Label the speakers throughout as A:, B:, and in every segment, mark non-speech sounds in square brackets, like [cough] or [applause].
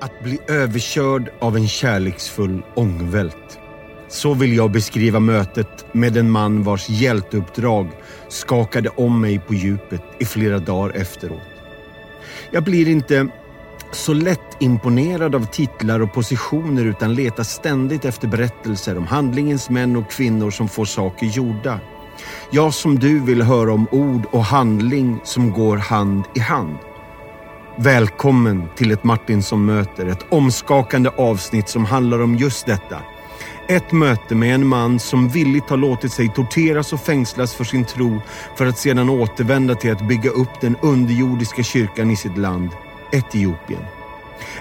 A: Att bli överkörd av en kärleksfull ångvält. Så vill jag beskriva mötet med en man vars hjälteuppdrag skakade om mig på djupet i flera dagar efteråt. Jag blir inte så lätt imponerad av titlar och positioner utan letar ständigt efter berättelser om handlingens män och kvinnor som får saker gjorda. Jag som du vill höra om ord och handling som går hand i hand. Välkommen till ett Martin som möter, ett omskakande avsnitt som handlar om just detta. Ett möte med en man som villigt har låtit sig torteras och fängslas för sin tro för att sedan återvända till att bygga upp den underjordiska kyrkan i sitt land, Etiopien.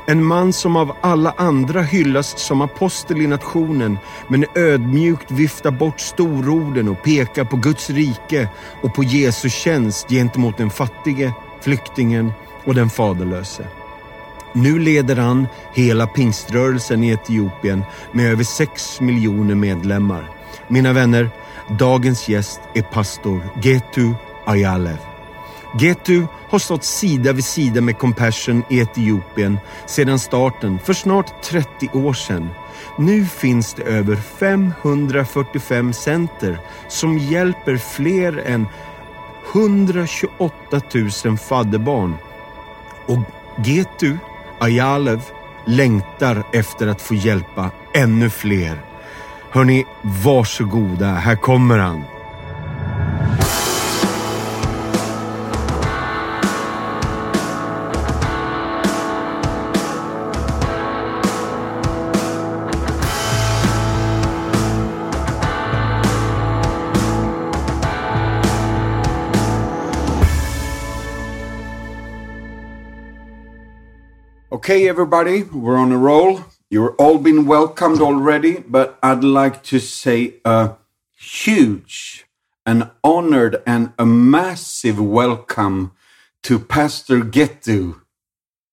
A: En man som av alla andra hyllas som apostel i nationen men ödmjukt viftar bort stororden och pekar på Guds rike och på Jesu tjänst gentemot den fattige, flyktingen och den faderlöse. Nu leder han hela pingströrelsen i Etiopien med över 6 miljoner medlemmar. Mina vänner, dagens gäst är pastor Getu Ayalev. Getu har stått sida vid sida med Compassion i Etiopien sedan starten för snart 30 år sedan. Nu finns det över 545 center som hjälper fler än 128 000 fadderbarn. Och Getu Ayalev längtar efter att få hjälpa ännu fler. Hörni, varsågoda, här kommer han.
B: Okay, everybody, we're on a roll. You're all been welcomed already, but I'd like to say a huge, an honored, and a massive welcome to Pastor Getu.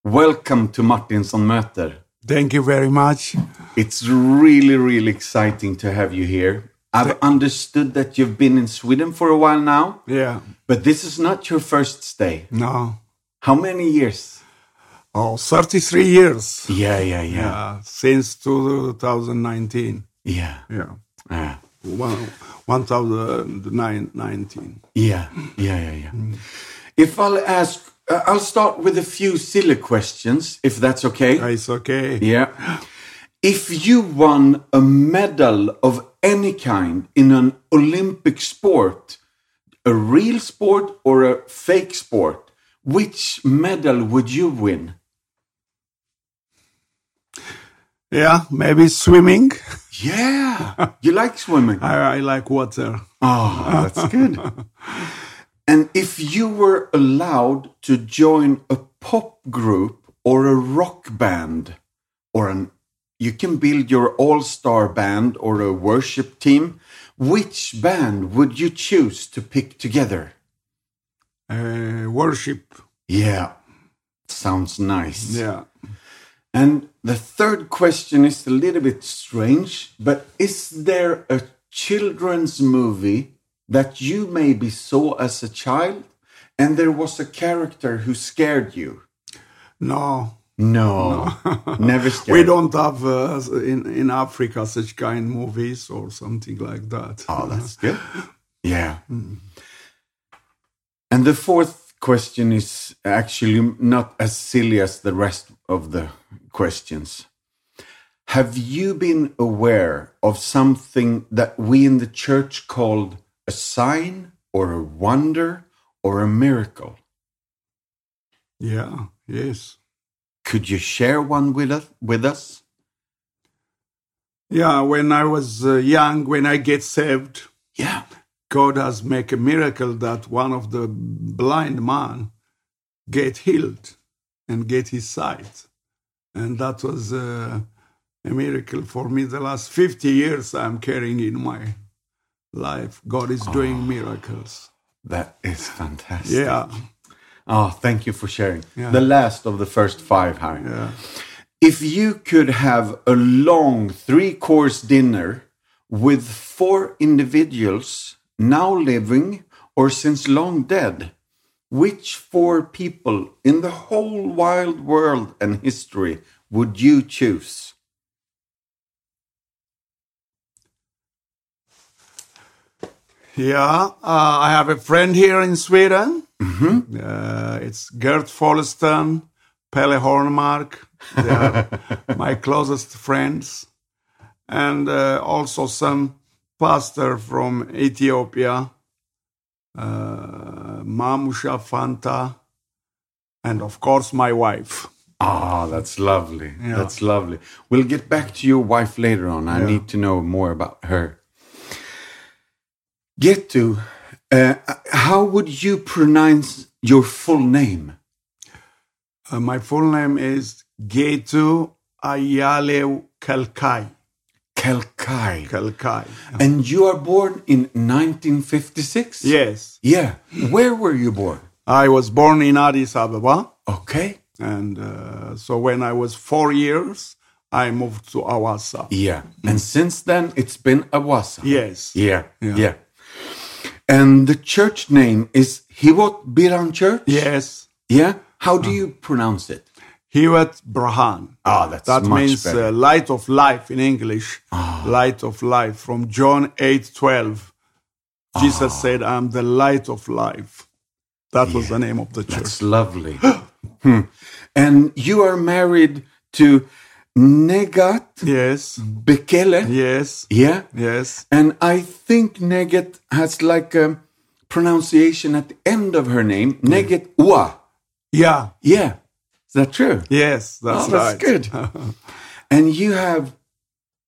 B: Welcome to Martinsson Möter.
C: Thank you very much.
B: It's really, really exciting to have you here. I've understood that you've been in Sweden for a while now,
C: Yeah.
B: but this is not your first stay.
C: No.
B: How many years?
C: Oh, 33 years
B: Yeah, yeah, yeah.
C: uh, since 2019.
B: Yeah.
C: Yeah.
B: yeah.
C: One, 1019.
B: Yeah, yeah, yeah, yeah. If I'll ask, uh, I'll start with a few silly questions, if that's okay.
C: It's okay.
B: Yeah. If you won a medal of any kind in an Olympic sport, a real sport or a fake sport, which medal would you win?
C: Yeah, maybe swimming.
B: Yeah, you like swimming.
C: I, I like water.
B: Oh, that's good. and if you were allowed to join a pop group or a rock band or an you can build your all-star band or a worship team, which band would you choose to pick together?
C: [laughs] Uh, worship.
B: Yeah. Sounds nice.
C: Yeah.
B: And the third question is a little bit strange, but is there a children's movie that you maybe saw as a child and there was a character who scared you?
C: No.
B: No, never scared.
C: We don't have uh, in, in Africa such kind movies or something like that.
B: Oh, that's good. Yeah. Mm-hmm. And the fourth question is actually not as silly as the rest of the questions. Have you been aware of something that we in the church called a sign or a wonder or a miracle?
C: Yeah. Yes.
B: Could you share one with us? With us?
C: Yeah. When I was uh, young, when I get saved,
B: Yeah.
C: God has make a miracle that one of the blind man get healed and get his sight. And that was uh, a miracle for me. The last 50 years I'm carrying in my life. God is doing miracles.
B: That is fantastic.
C: Yeah,
B: Oh, thank you for sharing.
C: Yeah.
B: The last of the first five, Harry.
C: yeah.
B: If you could have a long three course dinner with four individuals now living or since long dead, Which four people in the whole wild world and history would you choose?
C: Yeah, uh, I have a friend here in Sweden. Uh, it's Gert Folleston, Pelle Hornmark. They are my closest friends. And uh, also some pastor from Ethiopia, uh, Mamusha Fanta, and of course my wife.
B: Ah, that's lovely. That's lovely. We'll get back to your wife later on. I need to know more about her. Get to uh, how would you pronounce your full name?
C: Uh, my full name is Getu Ayale Kalkai.
B: Kelkai.
C: Kalkai.
B: And you are born in 1956?
C: Yes,
B: Yeah. Where were you born?
C: I was born in Addis Ababa.
B: Okay.
C: And uh, so when I was four years, I moved to Awasa.
B: Yeah. And since then, it's been Awasa.
C: Yes.
B: Yeah. Yeah. And the church name is Hiwot Biran Church?
C: Yes.
B: Yeah. How do you pronounce it?
C: Hiwat Brahan.
B: Ah, that's
C: that
B: much
C: means
B: better. Ah.
C: uh, light of life in English. Light of life from John eight twelve.
B: Ah.
C: Jesus said, I'm the light of life. That was the name of the church.
B: That's lovely. [gasps] Hmm. And you are married to Negat
C: Yes.
B: Mm. Bekele?
C: Yes.
B: yeah.
C: Yes.
B: And I think Neget has like a pronunciation at the end of her name, Neget Ua.
C: Yeah.
B: Yeah. Is that true?
C: Yes. That's,
B: Oh, that's
C: right. [laughs]
B: good. and you have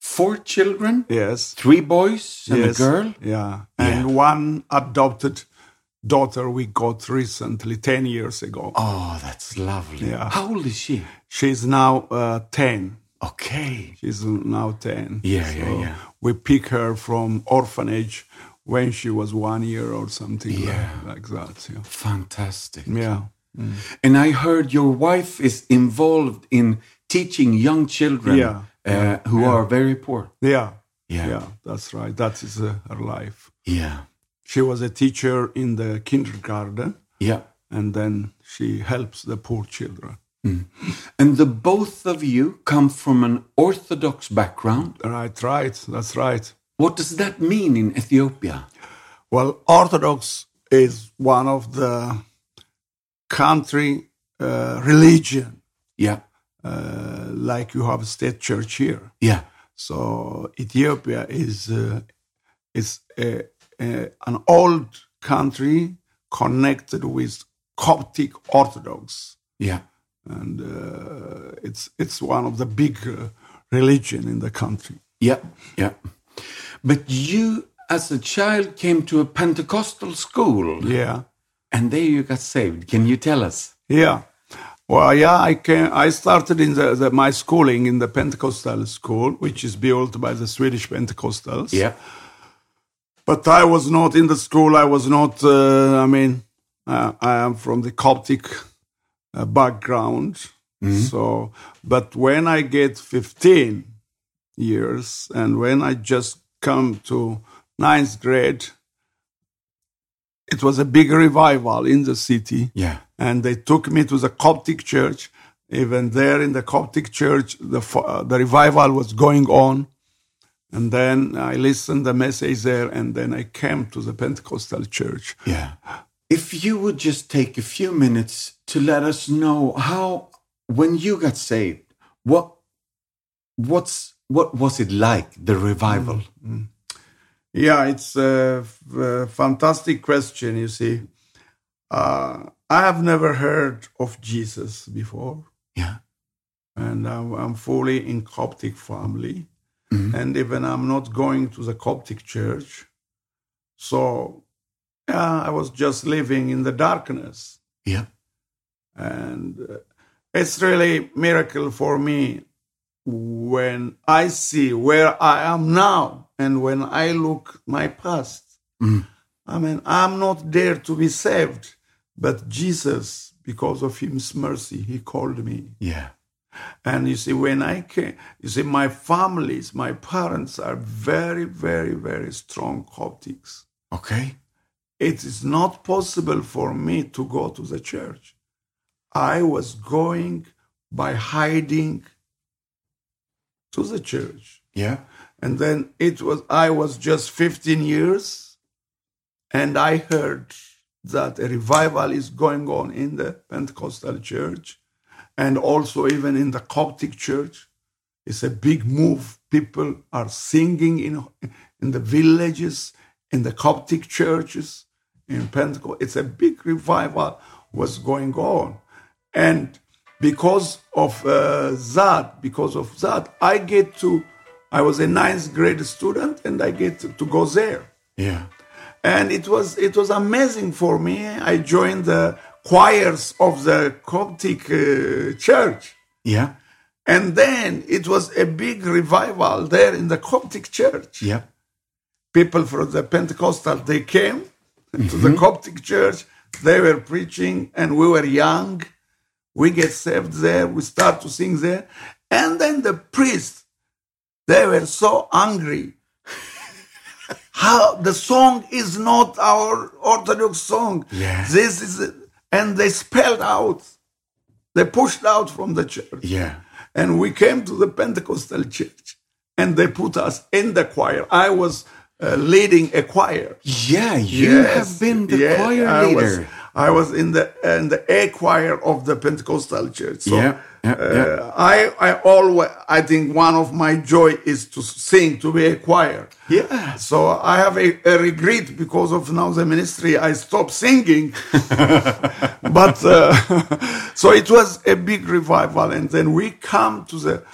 B: four children,
C: Yes.
B: three boys and
C: yes.
B: a girl.
C: Yeah. And one adopted daughter we got recently, 10 years ago.
B: Oh, that's lovely.
C: Yeah.
B: How old is she?
C: She's now uh, 10.
B: Okay.
C: She's now 10.
B: Yeah, yeah, yeah.
C: We pick her from orphanage when she was one year or something like, like that. Yeah.
B: Fantastic.
C: yeah.
B: And I heard your wife is involved in teaching young children
C: Yeah.
B: uh, who are very poor.
C: Yeah.
B: Yeah.
C: Yeah. That's right. That is uh, her life.
B: Yeah.
C: She was a teacher in the kindergarten
B: Yeah.
C: and then she helps the poor children.
B: And the both of you come from an Orthodox background.
C: Right, right. That's right.
B: What does that mean in Ethiopia?
C: Well, Orthodox is one of the country uh, religion,
B: Yeah,
C: uh, like you have state church here.
B: yeah,
C: So Ethiopia is uh, is a, a, an old country connected with Coptic Orthodox,
B: yeah.
C: and uh, it's it's one of the big uh, religion in the country.
B: Yeah, yeah. But you, as a child, came to a Pentecostal school,
C: Yeah.
B: and there you got saved. Can you tell us?
C: Yeah. Well, yeah, I can. I started in the, the my schooling in the Pentecostal school, which is built by the Swedish Pentecostals. But I was not in the school. I was not. Uh, I mean, uh, I am from the Coptic uh, background. So, but when I get 15 years, and when I just come to ninth grade, it was a big revival in the city
B: yeah,
C: and they took me to the Coptic church. Even there in the Coptic church, the fo- uh, the revival was going on, and then I listened the message there, and then I came to the Pentecostal church.
B: yeah. If you would just take a few minutes to let us know how, when you got saved, what, what's, what was it like the revival?
C: Mm. Yeah, it's a, f- a fantastic question. You see, uh, I have never heard of Jesus before.
B: Yeah.
C: and I'm, I'm fully in Coptic family, and even I'm not going to the Coptic church. So, yeah, I was just living in the darkness,
B: Yeah.
C: and uh, it's really miracle for me when I see where I am now and when I look my past. I mean, I'm not there to be saved, but Jesus, because of His mercy, He called me.
B: Yeah.
C: And you see, when I came, you see, my families, my parents are very, very, very strong Coptics.
B: Okay.
C: It is not possible for me to go to the church. I was going by hiding to the church.
B: Yeah.
C: And then it was I was just 15 years and I heard that a revival is going on in the Pentecostal church and also even in the Coptic church. It's a big move. People are singing in, in the villages, in the Coptic churches, in Pentecost. It's a big revival was going on. And because of uh, that, because of that, I get to, I was a ninth grade student and I get to, to go there.
B: Yeah.
C: And it was, it was amazing for me. I joined the choirs of the Coptic uh, church.
B: Yeah.
C: And then it was a big revival there in the Coptic church.
B: Yeah.
C: People from the Pentecostal, they came to the Coptic church. They were preaching and we were young. We get saved there. We start to sing there. And then the priests, they were so angry. How the song is not our Orthodox song.
B: Yeah.
C: This is, and they spelled out. They pushed out from the church.
B: Yeah.
C: And we came to the Pentecostal church and they put us in the choir. I was uh, leading a choir.
B: Yeah. You have been the
C: Yeah,
B: choir
C: I was-
B: leader.
C: I was in the in the A choir of the Pentecostal church. So
B: Yeah, yeah,
C: uh,
B: yeah.
C: I I always I think one of my joy is to sing to be a choir.
B: Yeah.
C: So I have a, a regret because of now the ministry. I stopped singing, but uh, so it was a big revival, and then we come to the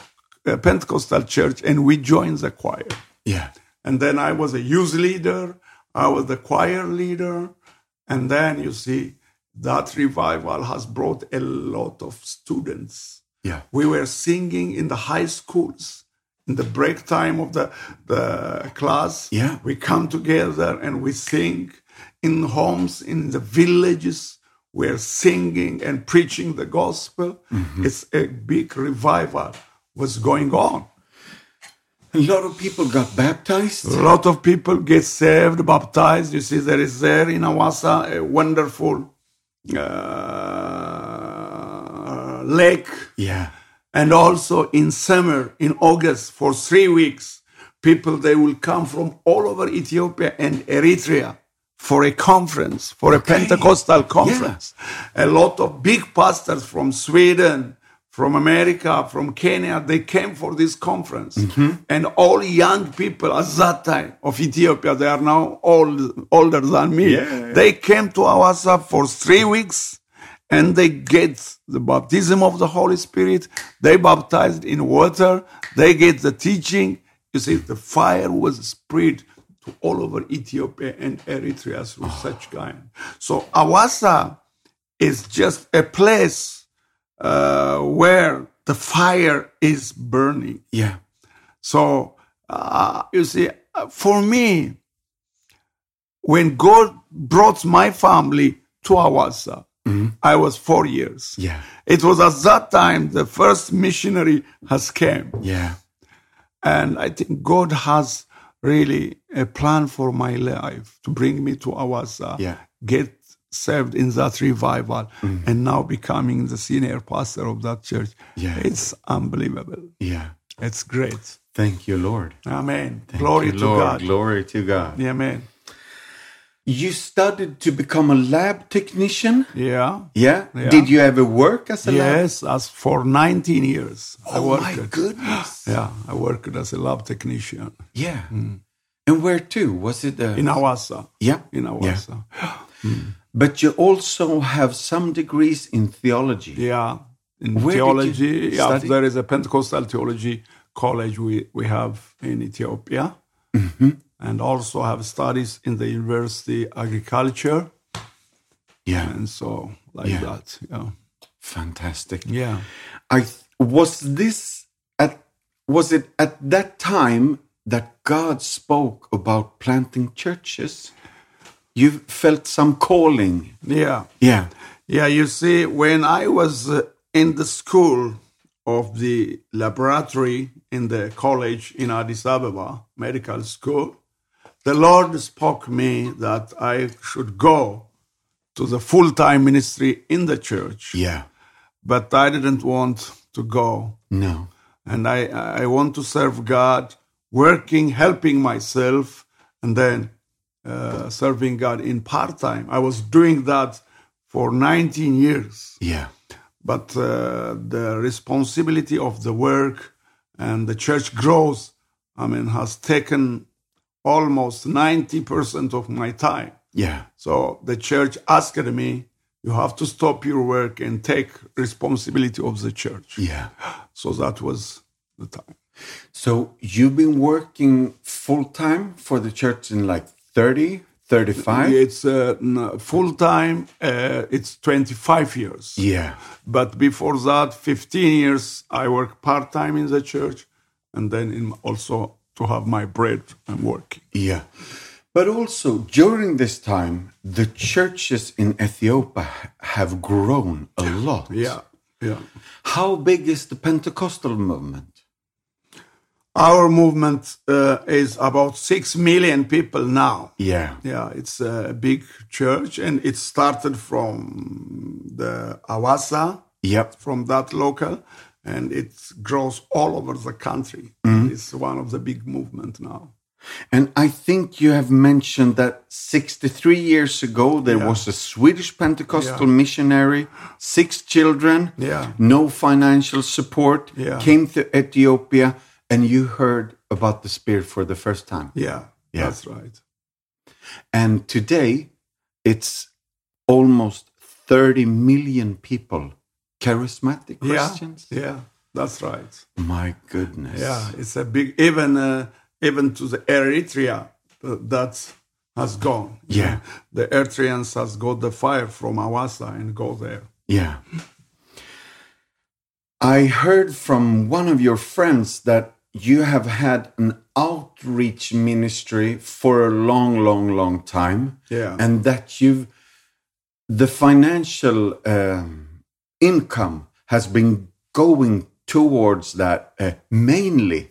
C: uh, Pentecostal church and we join the choir.
B: Yeah.
C: And then I was a youth leader, I was the choir leader. And then you see, that revival has brought a lot of students.
B: Yeah.
C: We were singing in the high schools. In the break time of the, the class,
B: Yeah.
C: we come together and we sing in homes, in the villages. We're singing and preaching the gospel. It's a big revival was going on.
B: A lot of people got baptized.
C: A lot of people get saved, baptized. You see, there is there in Awasa a wonderful uh, lake,
B: Yeah.
C: and also in summer, in August, for three weeks, people they will come from all over Ethiopia and Eritrea for a conference, for a Pentecostal conference. A lot of big pastors from Sweden, from America, from Kenya, they came for this conference. And all young people at that time of Ethiopia, they are now old, older than me.
B: Yeah.
C: They came to Awasa for three weeks and they get the baptism of the Holy Spirit. They baptized in water. They get the teaching. You see, the fire was spread to all over Ethiopia and Eritrea through such kind. So Awasa is just a place uh, where the fire is burning.
B: Yeah.
C: So uh, you see, uh, for me, when God brought my family to Awasa,
B: Mm-hmm.
C: I was four years.
B: Yeah.
C: It was at that time the first missionary has came,
B: Yeah.
C: and I think God has really a plan for my life to bring me to Awasa,
B: Yeah. Mm-hmm.
C: get served in that revival, and now becoming the senior pastor of that church.
B: Yeah.
C: It's unbelievable.
B: Yeah.
C: It's great.
B: Thank you, Lord.
C: Amen. Glory
B: Thank
C: to
B: you, Lord.
C: God.
B: Glory to God.
C: Amen.
B: You studied to become a lab technician.
C: Yeah.
B: Yeah.
C: Yeah.
B: Did you ever work as a lab?
C: Yes, as for 19 years I
B: Oh
C: worked.
B: my
C: [gasps]
B: goodness.
C: Yeah, I worked as a lab technician
B: Yeah. Hmm. And where to? Was it uh, a,
C: in Awasa.
B: Yeah.
C: In Awasa.
B: But you also have some degrees in theology.
C: Yeah. In
B: Where did you
C: theology, yeah,
B: study?
C: there is a Pentecostal theology college we, we have in Ethiopia.
B: Mm-hmm.
C: And also have studies in the university agriculture.
B: Yeah.
C: And so like
B: Yeah.
C: that. Yeah.
B: Fantastic.
C: Yeah.
B: I th- was this at was it at that time that God spoke about planting churches? You felt some calling.
C: Yeah.
B: Yeah.
C: Yeah, you see, when I was uh, in the school of the laboratory in the college in Addis Ababa, medical school, the Lord spoke me that I should go to the full time ministry in the church,
B: Yeah.
C: but I didn't want to go.
B: No.
C: And I, I want to serve God, working, helping myself, and then uh, serving God in part time. I was doing that for 19 years
B: Yeah.
C: but uh, the responsibility of the work and the church growth, I mean, has taken almost 90% of my time.
B: Yeah.
C: So the church asked me, you have to stop your work and take responsibility of the church.
B: Yeah.
C: So that was the time.
B: So you've been working full time for the church in like 30, 35?
C: It's uh, full time, uh, it's 25 years.
B: Yeah.
C: But before that, 15 years, I work part time in the church and then in also to have my bread and working.
B: Yeah. But also during this time, the churches in Ethiopia have grown a lot.
C: Yeah, yeah.
B: How big is the Pentecostal movement?
C: Our movement uh, is about 6 million people now.
B: Yeah.
C: Yeah, it's a big church and it started from the Awasa,
B: Yep.
C: from that local, and it grows all over the country. It's one of the big movement now.
B: And I think you have mentioned that 63 years ago, there was a Swedish Pentecostal missionary, six children,
C: Yeah.
B: no financial support,
C: Yeah.
B: came to Ethiopia, and you heard about the Spirit for the first time.
C: Yeah,
B: Yeah.
C: that's right.
B: And today, it's almost 30 million people, charismatic Christians.
C: Yeah, yeah, that's right.
B: My goodness.
C: Yeah, it's a big even uh, even to the Eritrea uh, that has gone.
B: Yeah.
C: the Eritreans has got the fire from Awasa and go there.
B: Yeah. I heard from one of your friends that you have had an outreach ministry for a long, long, long time,
C: Yeah,
B: and that you've the financial um, income has been going towards that uh, mainly.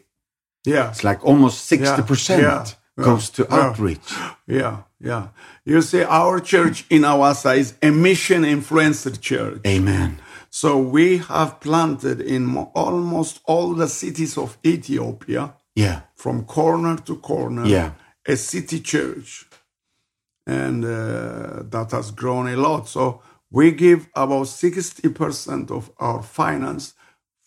C: yeah,
B: It's like almost sixty percent
C: Yeah, yeah,
B: goes to
C: yeah.
B: outreach.
C: yeah, yeah. You see, our church in Awasa is a mission influenced church.
B: Amen.
C: So we have planted in mo- almost all the cities of Ethiopia.
B: Yeah.
C: from corner to corner
B: Yeah.
C: a city church and uh, that has grown a lot so we give about 60% of our finance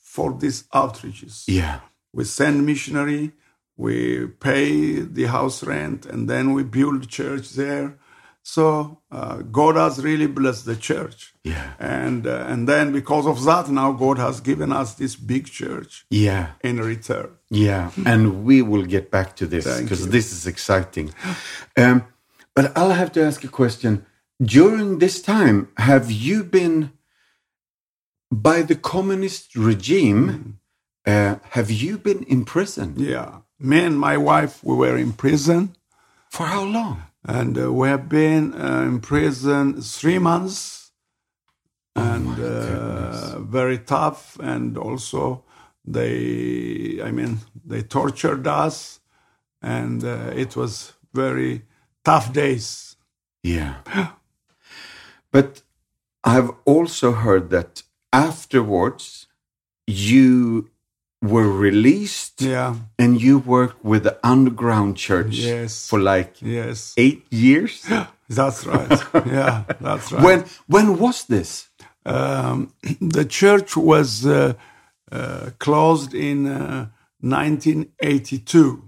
C: for these outreaches
B: Yeah.
C: we send missionary we pay the house rent and then we build church there so uh, god has really blessed the church
B: Yeah.
C: and uh, and then because of that now god has given us this big church
B: Yeah.
C: in return
B: Yeah, and we will get back to this
C: Thank
B: because
C: you.
B: this is exciting. Um, but I'll have to ask a question. During this time, have you been, by the communist
C: Mm-hmm.
B: regime, uh, have you been in prison?
C: Yeah. Me and my wife, we were in prison,
B: For how long?
C: and uh, we have been uh, in prison three months, and uh, very tough. And also, they, I mean, they tortured us, and uh, it was very tough days.
B: Yeah.
C: [gasps]
B: But I've also heard that afterwards, you were released
C: Yeah.
B: and you worked with the underground church
C: Yes.
B: for like
C: Yes.
B: eight [gasps] years.
C: That's right. Yeah. That's right.
B: when when was this?
C: um, the church was uh, uh, closed in uh, 1982,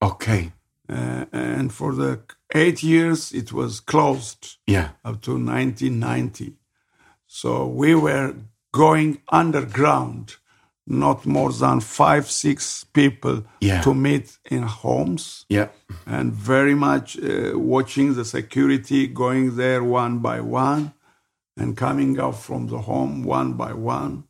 B: Okay,
C: uh, and for the eight years it was closed
B: yeah,
C: up to 1990. So we were going underground, not more than five, six people
B: Yeah.
C: to meet in homes,
B: yeah,
C: and very much uh, watching the security going there one by one and coming out from the home one by one.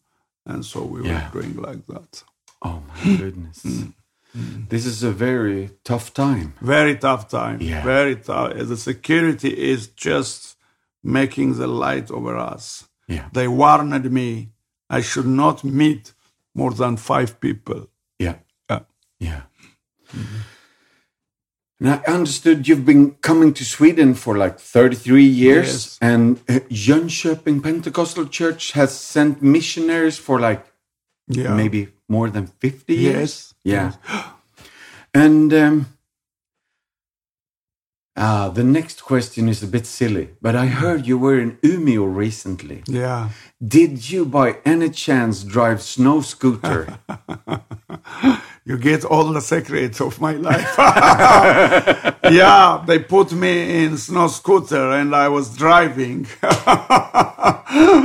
C: And so we
B: Yeah.
C: were doing like that.
B: Oh my goodness, Hmm. this is a very tough time.
C: Very tough time.
B: Yeah.
C: Very tough. The security is just making the light over us.
B: Yeah,
C: They warned me I should not meet more
B: Uh.
C: than five people.
B: yeah,
C: Yeah.
B: yeah. Hmm. And I understood you've been coming to Sweden for like 33 years,
C: Yes.
B: and uh, Jönköping Pentecostal Church has sent missionaries for like
C: Yeah.
B: maybe more than 50 years.
C: Yes.
B: Yeah. And um, ah, the next question is a bit silly, but I heard you were in Umeå recently.
C: Yeah.
B: Did you by any chance drive snow
C: [laughs]
B: scooter?
C: you get all the secrets of my [laughs] life. yeah, they put me in snow scooter and I was driving.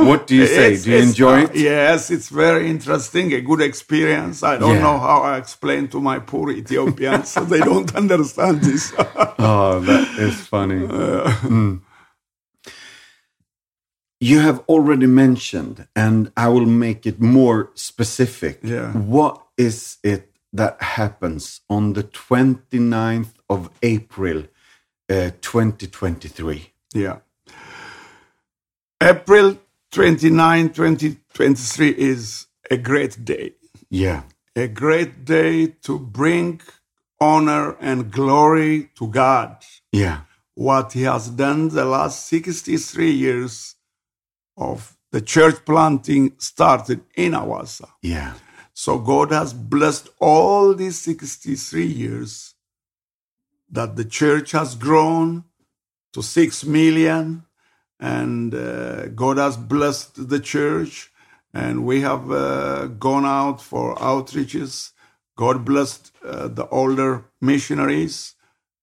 B: what do you say?
C: It's-
B: do you
C: it's-
B: enjoy it?
C: Yes, it's very interesting, a good experience. I don't
B: Yeah.
C: know how I explain to my poor Ethiopians; they don't [laughs] understand this.
B: Oh, that is [laughs] funny. Mm. You have already mentioned, and I will make it more specific.
C: Yeah.
B: What is it that happens on the 29th of April, uh, 2023?
C: yeah. April 29, 2023 is a great day.
B: Yeah.
C: a great day to bring honor and glory to God,
B: Yeah.
C: what He has done the last 63 years of the church planting started in Awasa.
B: Yeah.
C: So God has blessed all these 63 years that the church has grown to 6 million and uh, God has blessed the church and we have uh, gone out for outreaches. God blessed uh, the older missionaries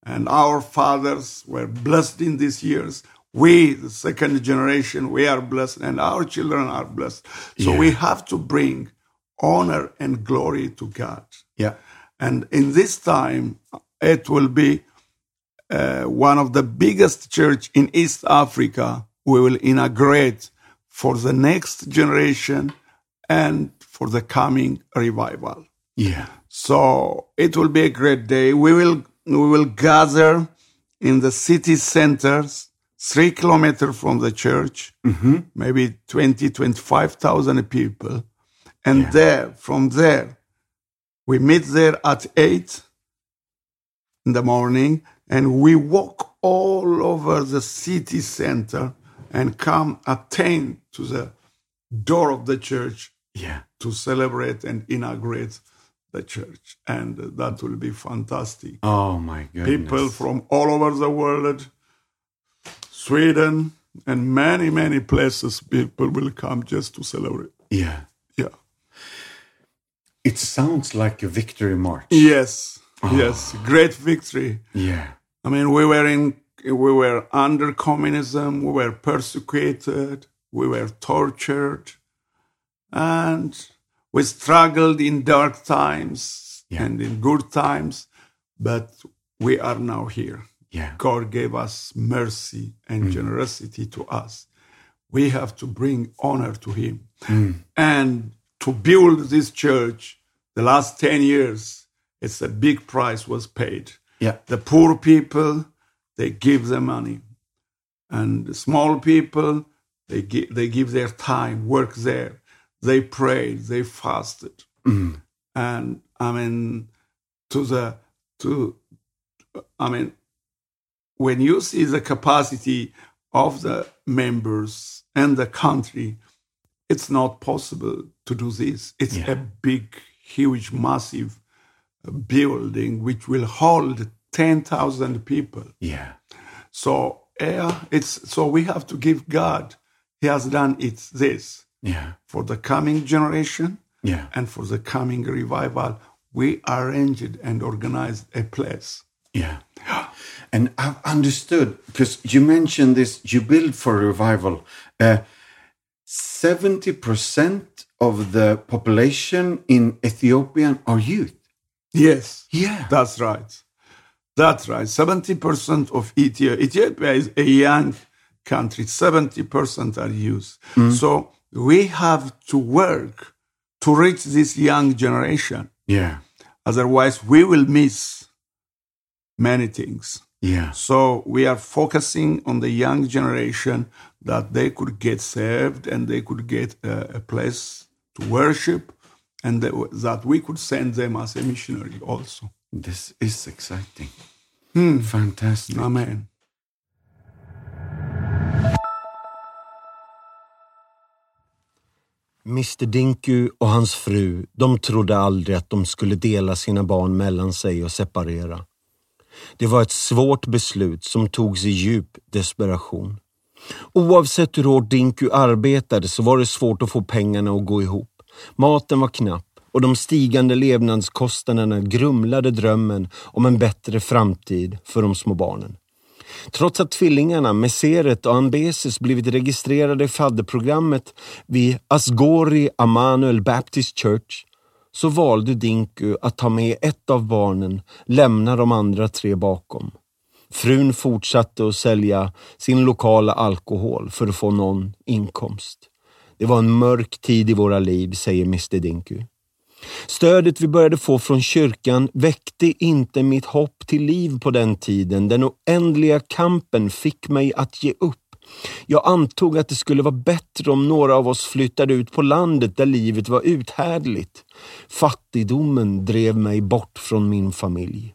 C: and our fathers were blessed in these years. We, the second generation, we are blessed and our children are blessed. So we have to bring honor and glory to God.
B: Yeah.
C: And in this time, it will be uh, one of the biggest church in East Africa. We will inaugurate for the next generation and for the coming revival.
B: Yeah.
C: So it will be a great day. We will we will gather in the city centers, three kilometers from the church, maybe 20, 25,000 people. And there, from there, we meet there at 8 in the morning and we walk all over the city center and come attend to the door of the church
B: Yeah.
C: to celebrate and inaugurate the church. And that will be fantastic.
B: Oh, my goodness.
C: People from all over the world, Sweden, and many, many places, people will come just to celebrate.
B: Yeah.
C: Yeah.
B: It sounds like a victory march.
C: Yes. Yes. Great victory.
B: Yeah.
C: I mean, we were in, we were under communism. We were persecuted. We were tortured, and we struggled in dark times
B: Yeah.
C: and in good times. But we are now here.
B: Yeah.
C: God gave us mercy and generosity to us. We have to bring honor to Him. And to build this church, the last 10 years, it's a big price was paid.
B: Yeah.
C: The poor people, they give their money. And the small people, they give, they give their time, work there. They prayed, they fasted. And I mean, to the, to, I mean, when you see the capacity of the members and the country, it's not possible to do this. It's
B: Yeah.
C: a big, huge, massive building which will hold 10,000 people.
B: Yeah.
C: So, yeah, it's, so we have to give God. He has done it this
B: Yeah.
C: for the coming generation
B: Yeah.
C: and for the coming revival. We arranged and organized a place.
B: Yeah. And I've understood because you mentioned this, you build for revival. Uh, 70% of the population in Ethiopia are youth.
C: Yes.
B: Yeah.
C: That's right. That's right. 70% of Ethiopia, Ethiopia is a young country, 70% are youth. So we have to work to reach this young generation.
B: Yeah.
C: Otherwise, we will miss many things.
B: Yeah.
C: So we are focusing on the young generation that they could get saved and they could get uh, a, a place to worship and that that we could send them as a missionary also.
B: This is exciting.
C: Hmm.
B: Fantastic.
C: Amen.
A: Mr Dinku och hans fru, de trodde aldrig att de skulle dela sina barn mellan sig och separera. Det var ett svårt beslut som togs i djup desperation. Oavsett hur hårt Dinku arbetade så var det svårt att få pengarna att gå ihop. Maten var knapp och de stigande levnadskostnaderna grumlade drömmen om en bättre framtid för de små barnen. Trots att tvillingarna Meseret och Ambeses blivit registrerade i fadderprogrammet vid Asgori Emanuel Baptist Church så valde Dinku att ta med ett av barnen, lämna de andra tre bakom. Frun fortsatte att sälja sin lokala alkohol för att få någon inkomst. Det var en mörk tid i våra liv, säger Mr Dinku. Stödet vi började få från kyrkan väckte inte mitt hopp till liv på den tiden. Den oändliga kampen fick mig att ge upp. Jag antog att det skulle vara bättre om några av oss flyttade ut på landet där livet var uthärdligt. Fattigdomen drev mig bort från min familj.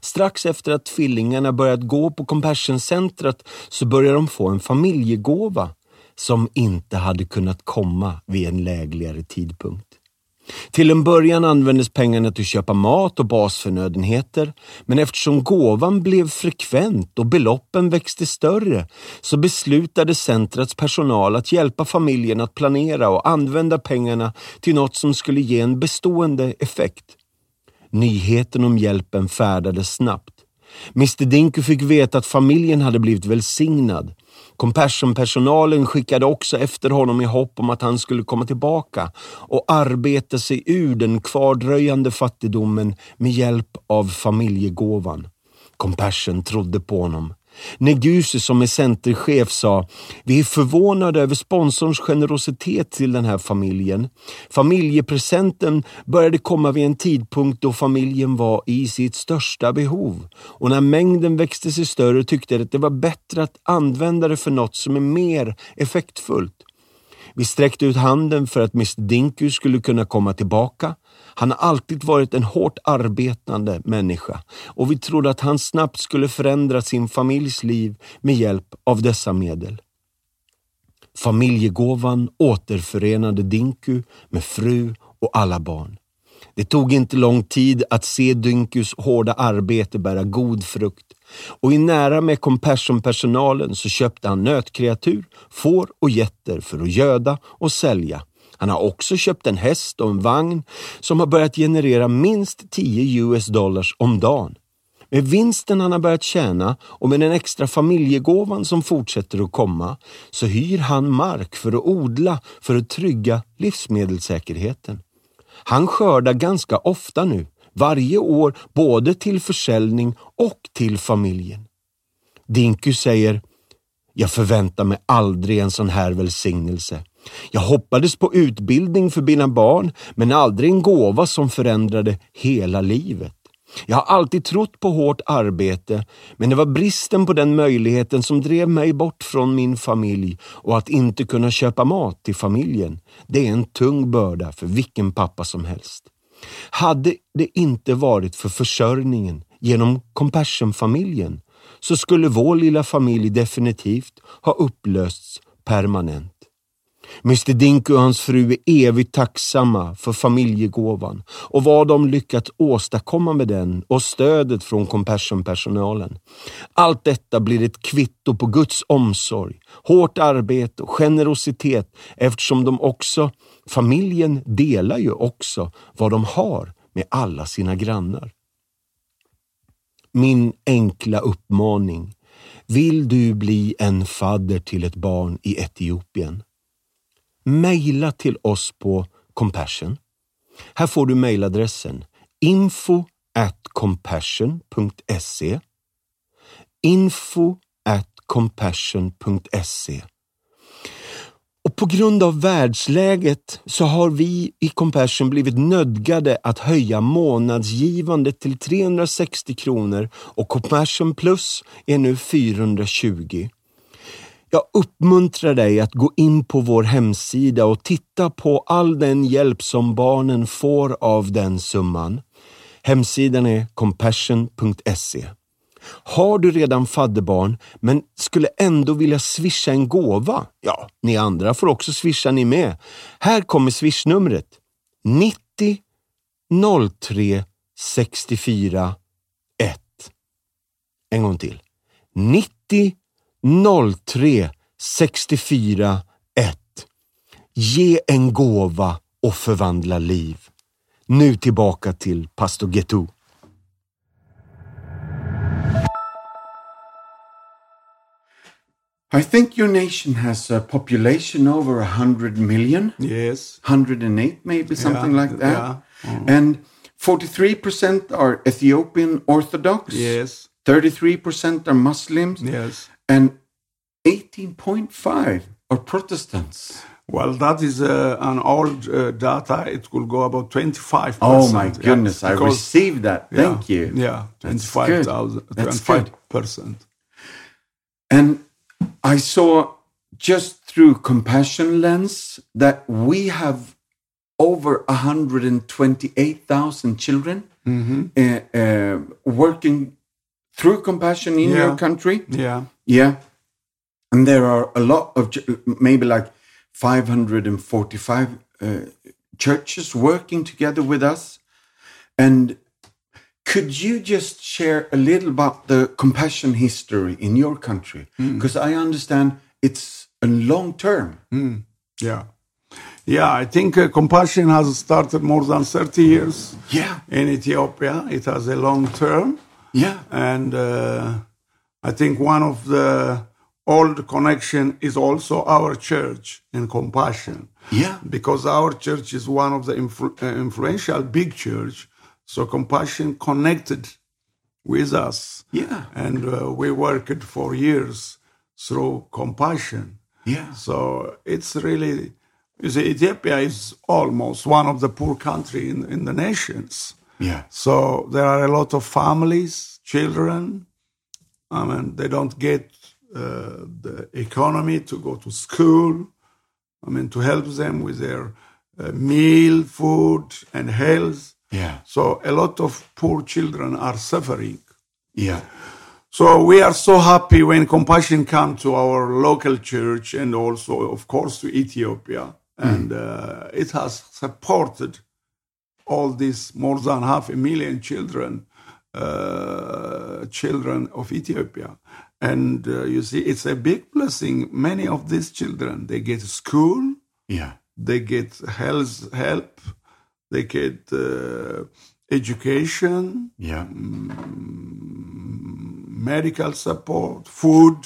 A: Strax efter att tvillingarna börjat gå på Compassioncentret så började de få en familjegåva som inte hade kunnat komma vid en lägligare tidpunkt. Till en början användes pengarna till att köpa mat och basförnödenheter, men eftersom gåvan blev frekvent och beloppen växte större så beslutade centrets personal att hjälpa familjen att planera och använda pengarna till något som skulle ge en bestående effekt. Nyheten om hjälpen färdades snabbt. Mr Dinku fick veta att familjen hade blivit välsignad. Compassion-personalen skickade också efter honom i hopp om att han skulle komma tillbaka och arbeta sig ur den kvardröjande fattigdomen med hjälp av familjegåvan. Compassion trodde på honom. Neguse som är centerchef sa, vi är förvånade över sponsorns generositet till den här familjen. Familjepresenten började komma vid en tidpunkt då familjen var i sitt största behov och när mängden växte sig större tyckte de att det var bättre att använda det för något som är mer effektfullt. Vi sträckte ut handen för att Mr Dinku skulle kunna komma tillbaka. Han har alltid varit en hårt arbetande människa och vi trodde att han snabbt skulle förändra sin familjs liv med hjälp av dessa medel. Familjegåvan återförenade Dinku med fru och alla barn. Det tog inte lång tid att se Dynkus hårda arbete bära god frukt och i nära med Compassion-personalen så köpte han nötkreatur, får och getter för att göda och sälja. Han har också köpt en häst och en vagn som har börjat generera minst 10 US dollars om dagen. Med vinsten han har börjat tjäna och med den extra familjegåvan som fortsätter att komma så hyr han mark för att odla för att trygga livsmedelssäkerheten. Han skördar ganska ofta nu, varje år både till försäljning och till familjen. Dinku säger, jag förväntar mig aldrig en sån här välsignelse. Jag hoppades på utbildning för mina barn, men aldrig en gåva som förändrade hela livet. Jag har alltid trott på hårt arbete, men det var bristen på den möjligheten som drev mig bort från min familj och att inte kunna köpa mat till familjen. Det är en tung börda för vilken pappa som helst. Hade det inte varit för försörjningen genom Compassion-familjen så skulle vår lilla familj definitivt ha upplösts permanent. Mr Dinku och hans fru är evigt tacksamma för familjegåvan och vad de lyckats åstadkomma med den och stödet från Compassion-personalen. Allt detta blir ett kvitto på Guds omsorg, hårt arbete och generositet eftersom de också, familjen delar ju också vad de har med alla sina grannar. Min enkla uppmaning. Vill du bli en fadder till ett barn i Etiopien? mejla till oss på Compassion. Här får du mejladressen info at compassion.se E. info at compassion.se och på grund av världsläget så har vi i Compassion blivit nödgade att höja månadsgivandet till 360 kronor och Compassion Plus är nu 420. Jag uppmuntrar dig att gå in på vår hemsida och titta på all den hjälp som barnen får av den summan. Hemsidan är compassion.se. Har du redan fadderbarn men skulle ändå vilja swisha en gåva? Ja, ni andra får också swisha ni med. Här kommer swishnumret. 90 03 64 1. En gång till. 90 03 64 1. Ge en gåva och förvandla liv. Nu tillbaka till pastor Getu.
B: I think your nation has a population over 100 million,
C: Yes.
B: 108 maybe, something
C: Yeah,
B: like that.
C: yeah.
B: And 43% are Ethiopian Orthodox,
C: Yes.
B: 33% are Muslims,
C: Yes.
B: and 18.5 are Protestants.
C: Well, that is uh, an old uh, data. It will go about 25%.
B: Oh my goodness,
C: yeah,
B: I
C: because-
B: received that.
C: yeah,
B: Thank you.
C: Yeah,
B: That's good.
C: 25,000.
B: That's good.
C: 25%.
B: And I saw just through compassion lens that we have over 128,000 children uh, uh, working through compassion in your
C: Yeah.
B: country.
C: Yeah.
B: Yeah. And there are a lot of, ch- maybe like 545 uh, churches working together with us. And could you just share a little about the compassion history in your country? Because I understand it's a long term.
C: Yeah. Yeah, I think uh, compassion has started more than 30 years
B: Yeah.
C: in Ethiopia. It has a long term.
B: Yeah.
C: and uh, I think one of the old connection is also our church in compassion
B: Yeah.
C: because our church is one of the influ- uh, influential big church so compassion connected with us
B: Yeah.
C: and uh, we worked for years through compassion
B: Yeah.
C: so it's really, you see, Ethiopia is almost one of the poor country in, in the nations.
B: Yeah.
C: So there are a lot of families, children. I mean, they don't get uh, the economy to go to school. I mean, to help them with their uh, meal, food, and health.
B: Yeah.
C: So a lot of poor children are suffering.
B: Yeah.
C: So we are so happy when compassion comes to our local church and also, of course, to Ethiopia. And uh, it has supported all these more than half a million children, uh, children of Ethiopia. And uh, you see, it's a big blessing. Many of these children, they get school,
B: Yeah.
C: they get health help, they get uh, education,
B: Yeah. mm,
C: medical support, food.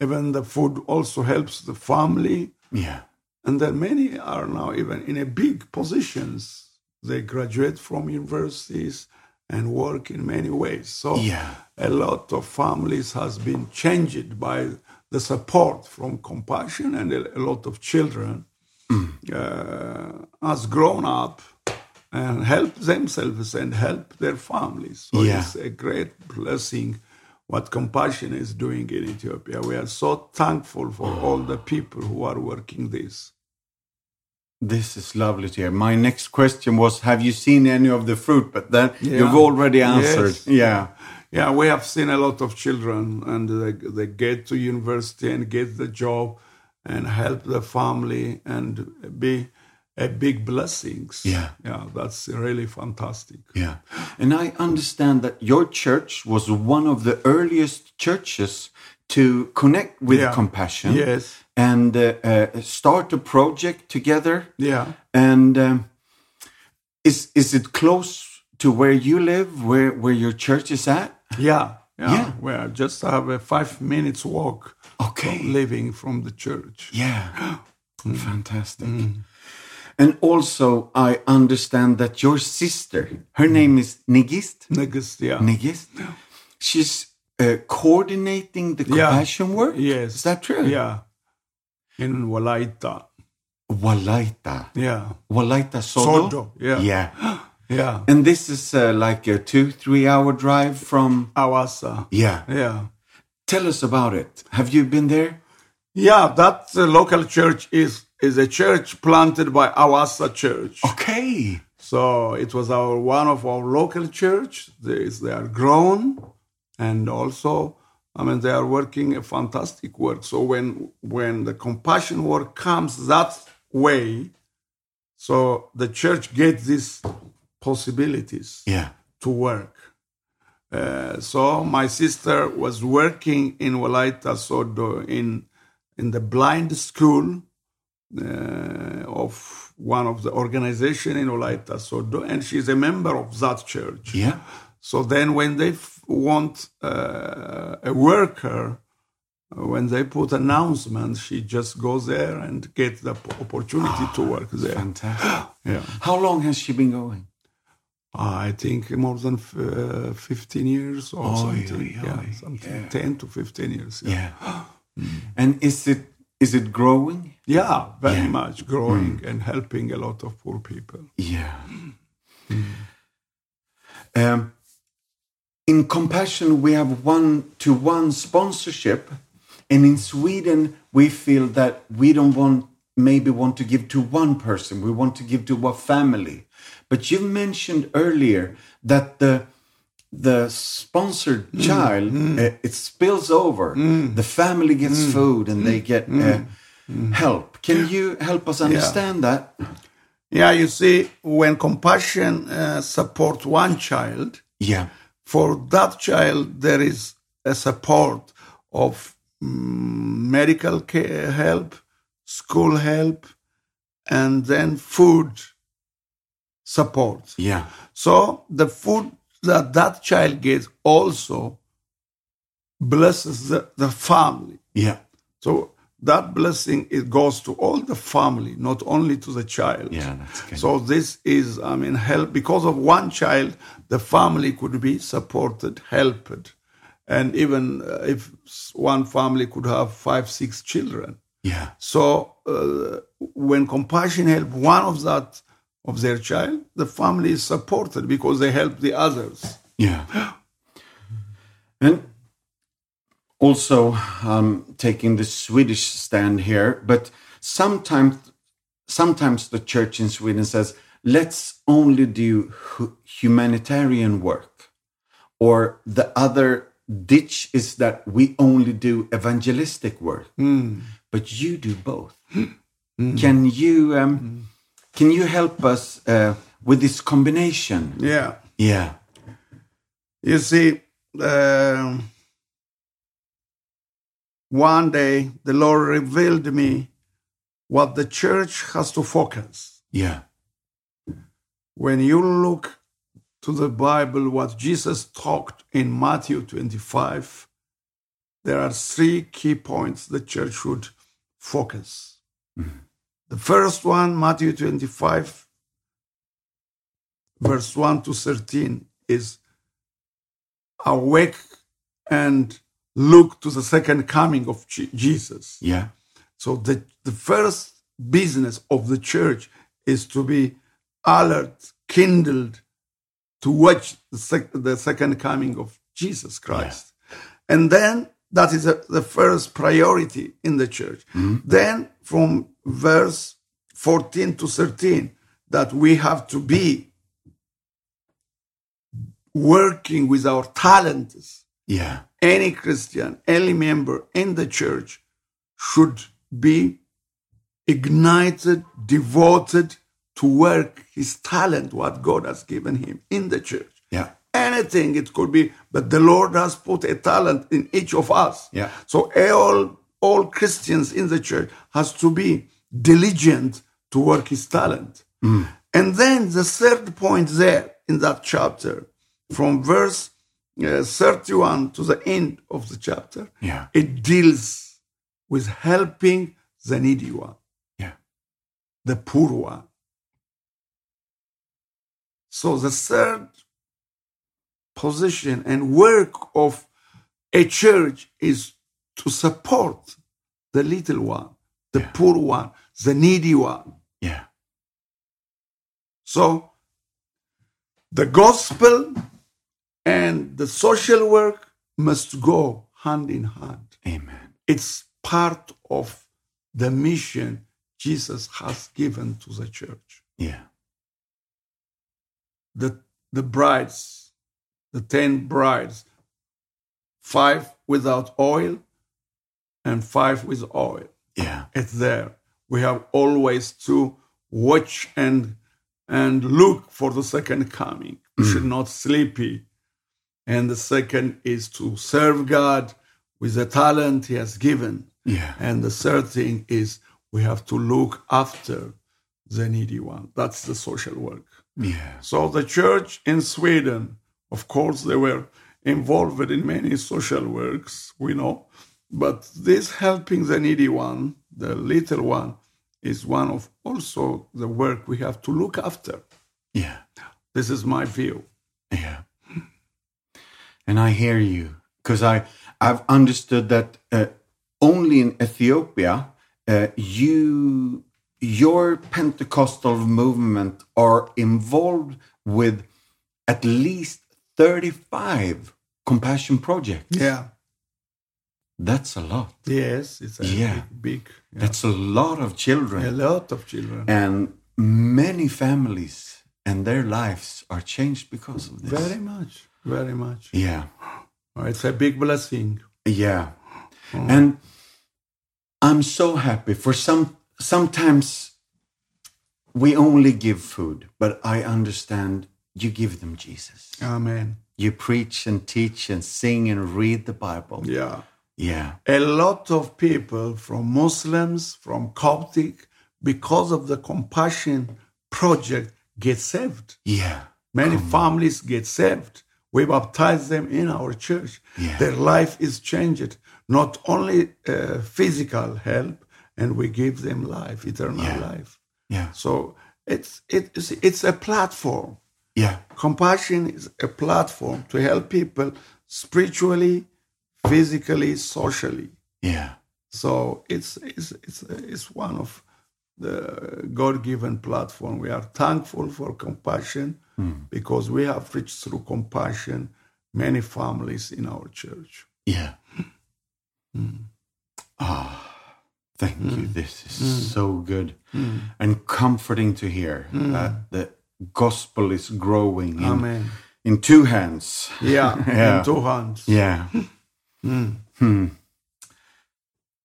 C: Even the food also helps the family.
B: Yeah.
C: And then many are now even in a big positions. They graduate from universities and work in many ways. So
B: Yeah.
C: a lot of families has been changed by the support from compassion and a, a lot of children
B: Mm.
C: uh, has grown up and help themselves and help their families. So
B: Yeah.
C: it's a great blessing what compassion is doing in Ethiopia. We are so thankful for all the people who are working this.
B: This is lovely to hear. My next question was Have you seen any of the fruit? But then you've
C: Yeah.
B: already answered.
C: Yes.
B: Yeah.
C: Yeah, we have seen a lot of children and they, they get to university and get the job and help the family and be a big blessings.
B: Yeah.
C: Yeah, that's really fantastic.
B: Yeah. And I understand that your church was one of the earliest churches to connect with
C: Yeah.
B: compassion
C: Yes.
B: and uh, uh, start a project together.
C: Yeah.
B: And um, is is it close to where you live, where, where your church is at?
C: Yeah, yeah.
B: Yeah.
C: We are just have a five minutes walk
B: Okay.
C: from living from the church.
B: [gasps] Yeah. Fantastic. Mm. And also, I understand that your sister, her name is Nigist.
C: Next, yeah.
B: Nigist. She's uh, coordinating the
C: Yeah.
B: compassion work.
C: Yes.
B: Is that true?
C: Yeah. In Walaita.
B: Walaita.
C: Yeah.
B: Walaita Sodo.
C: Sodo, yeah.
B: Yeah.
C: Yeah.
B: And this is uh, like a two, three hour drive from.
C: Awasa.
B: Yeah.
C: Yeah.
B: Tell us about it. Have you been there?
C: Yeah, that
B: Oh.
C: uh, local church is is a church planted by Awasa Church.
B: Okay.
C: So it was our one of our local church. They, they are grown, and also, I mean, they are working a fantastic work. So when when the compassion work comes that way, so the church gets these possibilities
B: Yeah.
C: to work. Uh, so my sister was working in Walaita Sodo in in the blind school uh, of one of the organization in Walaita Sodo, and she's a member of that church.
B: Yeah.
C: So then, when they f- want uh, a worker, uh, when they put announcement, she just goes there and get the p- opportunity to work there.
B: Fantastic.
C: Yeah,
B: How long has she been going?
C: I think more than f- uh, fifteen years or
B: Oy,
C: something.
B: oy, oy.
C: Yeah, something ten to fifteen years. Yeah,
B: Yeah. [gasps] And is it is it growing?
C: Yeah, Mm. very much growing and helping a lot of poor people.
B: Yeah. Mm. Um, in compassion, we have one to one sponsorship, and in Sweden, we feel that we don't want maybe want to give to one person. We want to give to a family. But you mentioned earlier that the the sponsored child uh, it spills over. The family gets food, and they get uh, help. Can you help us understand that?
C: Yeah, you see, when compassion uh, support one child,
B: Yeah.
C: for that child there is a support of mm, medical care help school help and then food support
B: Yeah.
C: so the food that that child gets also blesses the, the family
B: Yeah.
C: so that blessing it goes to all the family not only to the child
B: Yeah, that's good.
C: so this is i mean help because of one child the family could be supported helped and even uh, if s- one family could have five six children
B: Yeah.
C: so uh, when compassion help one of that of their child the family is supported because they help the others
B: Yeah. And also, um, taking the Swedish stand here, but sometimes, sometimes the church in Sweden says, "Let's only do hu- humanitarian work," or the other ditch is that we only do evangelistic work. But you do both. Can you um, can you help us uh, with this combination?
C: yeah
B: Yeah.
C: You see, um, one day the Lord revealed me what the church has to focus.
B: Yeah.
C: When you look to the Bible, what Jesus talked in Matthew 25, there are three key points the church should focus. The first one, Matthew 25, verse 1 to 13, is awake and look to the second coming of Je- Jesus.
B: Yeah.
C: So the, the first business of the church is to be alert, kindled, to watch the, sec- the second coming of Jesus Christ. And then that is a, the first priority in the church. Then from verse 14 to 13, that we have to be working with our talents
B: Yeah.
C: any Christian, any member in the church should be ignited, devoted to work his talent, what God has given him in the church.
B: Yeah.
C: Anything it could be, but the Lord has put a talent in each of us.
B: Yeah.
C: So all all Christians in the church has to be diligent to work his talent. And then the third point there in that chapter, from verse uh, 31 to the end of the chapter,
B: Yeah.
C: it deals with helping the needy one,
B: Yeah.
C: the poor one. So the third position and work of a church is to support the little one, the
B: Yeah.
C: poor one, the needy one.
B: Yeah.
C: So the gospel and the social work must go hand in hand.
B: Amen.
C: It's part of the mission Jesus has given to the church.
B: Yeah.
C: the the brides, the ten brides, five without oil, and five with oil.
B: Yeah.
C: It's there. We have always to watch and and look for the second coming. We should not sleepy. And the second is to serve God with the talent He has given.
B: Yeah.
C: And the third thing is we have to look after the needy one. That's the social work.
B: Yeah.
C: So the church in Sweden, of course, they were involved in many social works, we know, but this helping the needy one, the little one, is one of also the work we have to look after.
B: Yeah.
C: This is my view.
B: Yeah. And I hear you because I I've understood that uh, only in Ethiopia uh, you your Pentecostal movement are involved with at least 35 compassion projects.
C: Yeah.
B: That's a lot.
C: Yes, it's a
B: Yeah.
C: big, big yeah.
B: That's a lot of children
C: a lot of children.
B: and many families and their lives are changed because of this.
C: Very much, very much.
B: Yeah.
C: It's a big blessing.
B: Yeah. And I'm so happy for some sometimes we only give food, but I understand you give them Jesus.
C: Amen.
B: You preach and teach and sing and read the Bible.
C: Yeah.
B: Yeah.
C: a lot of people from Muslims, from Coptic, because of the compassion project, get saved.
B: Yeah.
C: Many families get saved. We baptize them in our church.
B: Yeah.
C: Their life is changed. Not only uh, physical help, and we give them life, eternal
B: Yeah.
C: life.
B: Yeah.
C: So it's it's it's a platform.
B: Yeah.
C: Compassion is a platform to help people spiritually, physically, socially.
B: Yeah.
C: So it's it's it's it's one of the God-given platform. We are thankful for compassion
B: Hmm.
C: because we have reached through compassion many families in our church.
B: Yeah. Ah, thank you. This is so good
C: Hmm.
B: and comforting to hear that the gospel is growing in,
C: Amen.
B: in two hands.
C: Yeah,
B: [laughs] Yeah.
C: in two hands.
B: Yeah. Hmm.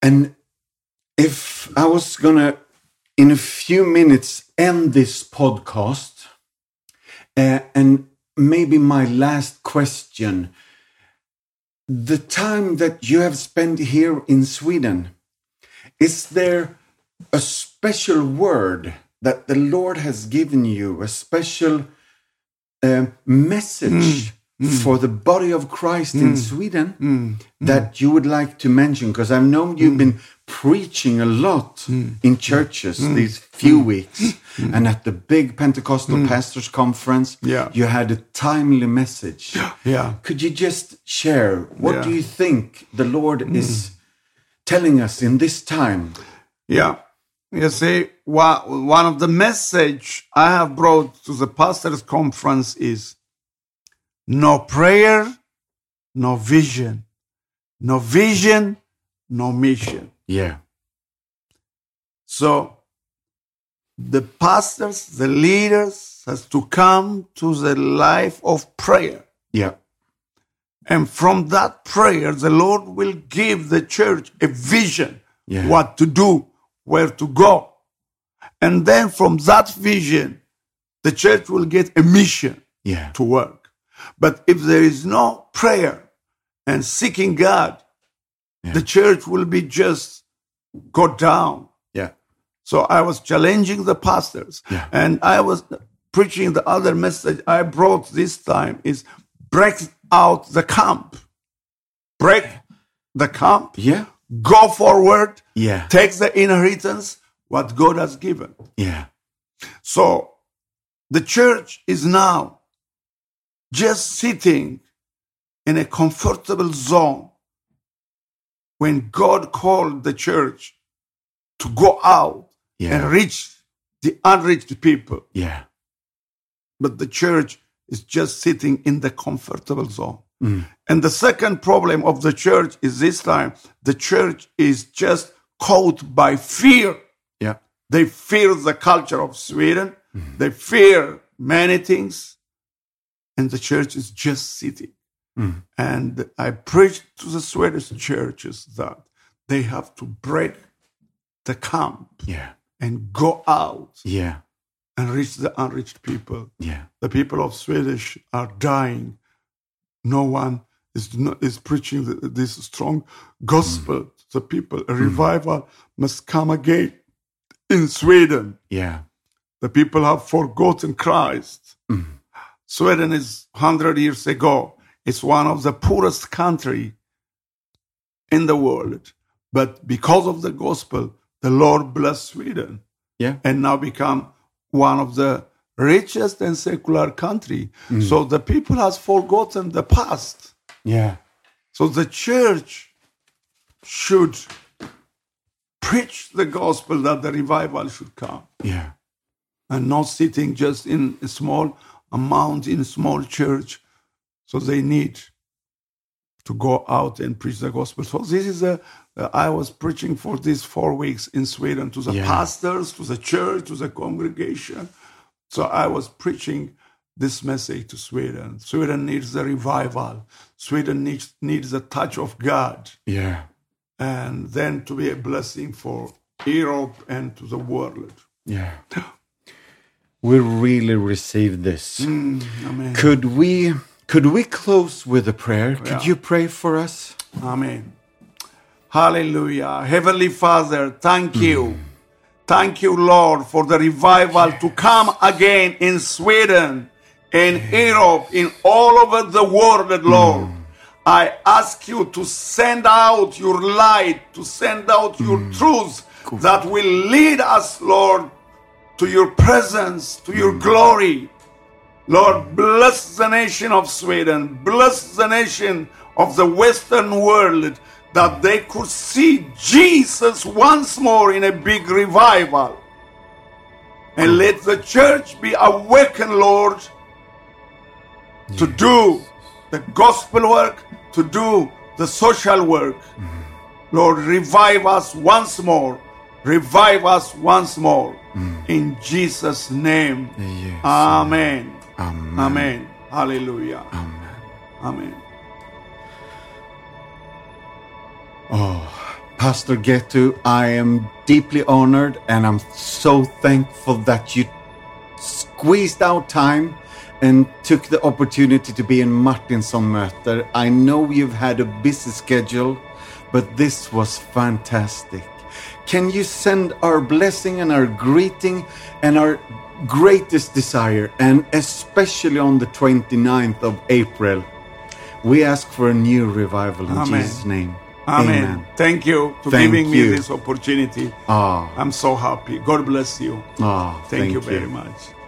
B: And if I was going to, in a few minutes, end this podcast, uh, and maybe my last question the time that you have spent here in Sweden, is there a special word that the Lord has given you, a special uh, message
C: Mm.
B: for the body of Christ in Sweden that you would like to mention? Because I've known you've
C: Mm.
B: been preaching a lot in churches
C: Mm.
B: these few weeks and at the big Pentecostal Pastors Conference,
C: Mm. Yeah.
B: you had a timely message.
C: Yeah.
B: Could you just share what
C: Yeah.
B: do you think the Lord is telling us in this time?
C: Yeah. You see, wha- one of the message I have brought to the pastors' conference is no prayer, no vision. No vision, no mission.
B: Yeah.
C: So the pastors, the leaders has to come to the life of prayer.
B: Yeah.
C: And from that prayer, the Lord will give the church a vision
B: Yeah.
C: what to do, where to go. And then from that vision, the church will get a mission
B: Yeah.
C: to work. But if there is no prayer and seeking God, the church will be just go down.
B: Yeah.
C: So I was challenging the pastors,
B: Yeah.
C: and I was preaching the other message I brought this time is break out the camp, break the camp,
B: Yeah.
C: go forward,
B: Yeah.
C: take the inheritance what God has given.
B: Yeah.
C: So the church is now just sitting in a comfortable zone when God called the church to go out
B: Yeah.
C: and reach the unreached people.
B: Yeah.
C: But the church is just sitting in the comfortable zone. And the second problem of the church is this time the church is just caught by fear.
B: Yeah.
C: They fear the culture of Sweden. They fear many things. and the church is just sitting. And I preached to the Swedish churches that they have to break the camp
B: Yeah.
C: and go out
B: Yeah.
C: and reach the unreached people.
B: Yeah.
C: The people of Swedish are dying. No one is, no- is preaching th- this strong gospel to the people. A revival must come again in Sweden.
B: Yeah.
C: The people have forgotten Christ. Sweden is 100 years ago. It's one of the poorest country in the world. But because of the gospel, the Lord blessed Sweden
B: Yeah.
C: and now become one of the richest and secular country. So the people has forgotten the past.
B: Yeah.
C: So the church should preach the gospel that the revival should come
B: Yeah.
C: and not sitting just in a small amount in a small church. So they need to go out and preach the gospel. So this is a I was preaching for these four weeks in Sweden to the
B: Yeah.
C: pastors, to the church, to the congregation. So I was preaching this message to Sweden. Sweden needs a revival. Sweden needs needs a touch of God,
B: Yeah.
C: and then to be a blessing for Europe and to the world.
B: Yeah. [gasps]
A: We really received this.
B: Hmm.
C: Amen.
B: Could we could we close with a prayer? Could you pray for us?
C: Amen. Hallelujah. Heavenly Father, thank you. Thank you, Lord, for the revival to come again in Sweden, in Europe, in all over the world, Lord. I ask you to send out your light, to send out your truth that will lead us, Lord, to your presence, to your glory. Lord, bless the nation of Sweden, bless the nation of the Western world, that they could see Jesus once more in a big revival. And let the church be awakened, Lord, to do the gospel work, to do the social work. Lord, revive us once more. Revive us once more. In Jesus' name.
B: Yes.
C: Amen.
B: Amen.
C: Amen. Hallelujah. Amen.
B: Oh, Pastor Getu, I am deeply honored and I'm so thankful that you squeezed out time and took the opportunity to be in Martinsson Möter. I know you've had a busy schedule, but this was fantastic. Can you send our blessing and our greeting and our greatest desire, and especially on the 29th of April, we ask for a new revival in
C: Amen.
B: Jesus' name.
C: Amen. Thank you for
B: Thank
C: giving
B: you.
C: me this opportunity.
B: Ah,
C: I'm so happy. God bless you.
B: ah,
C: Oh, Thank, you very much.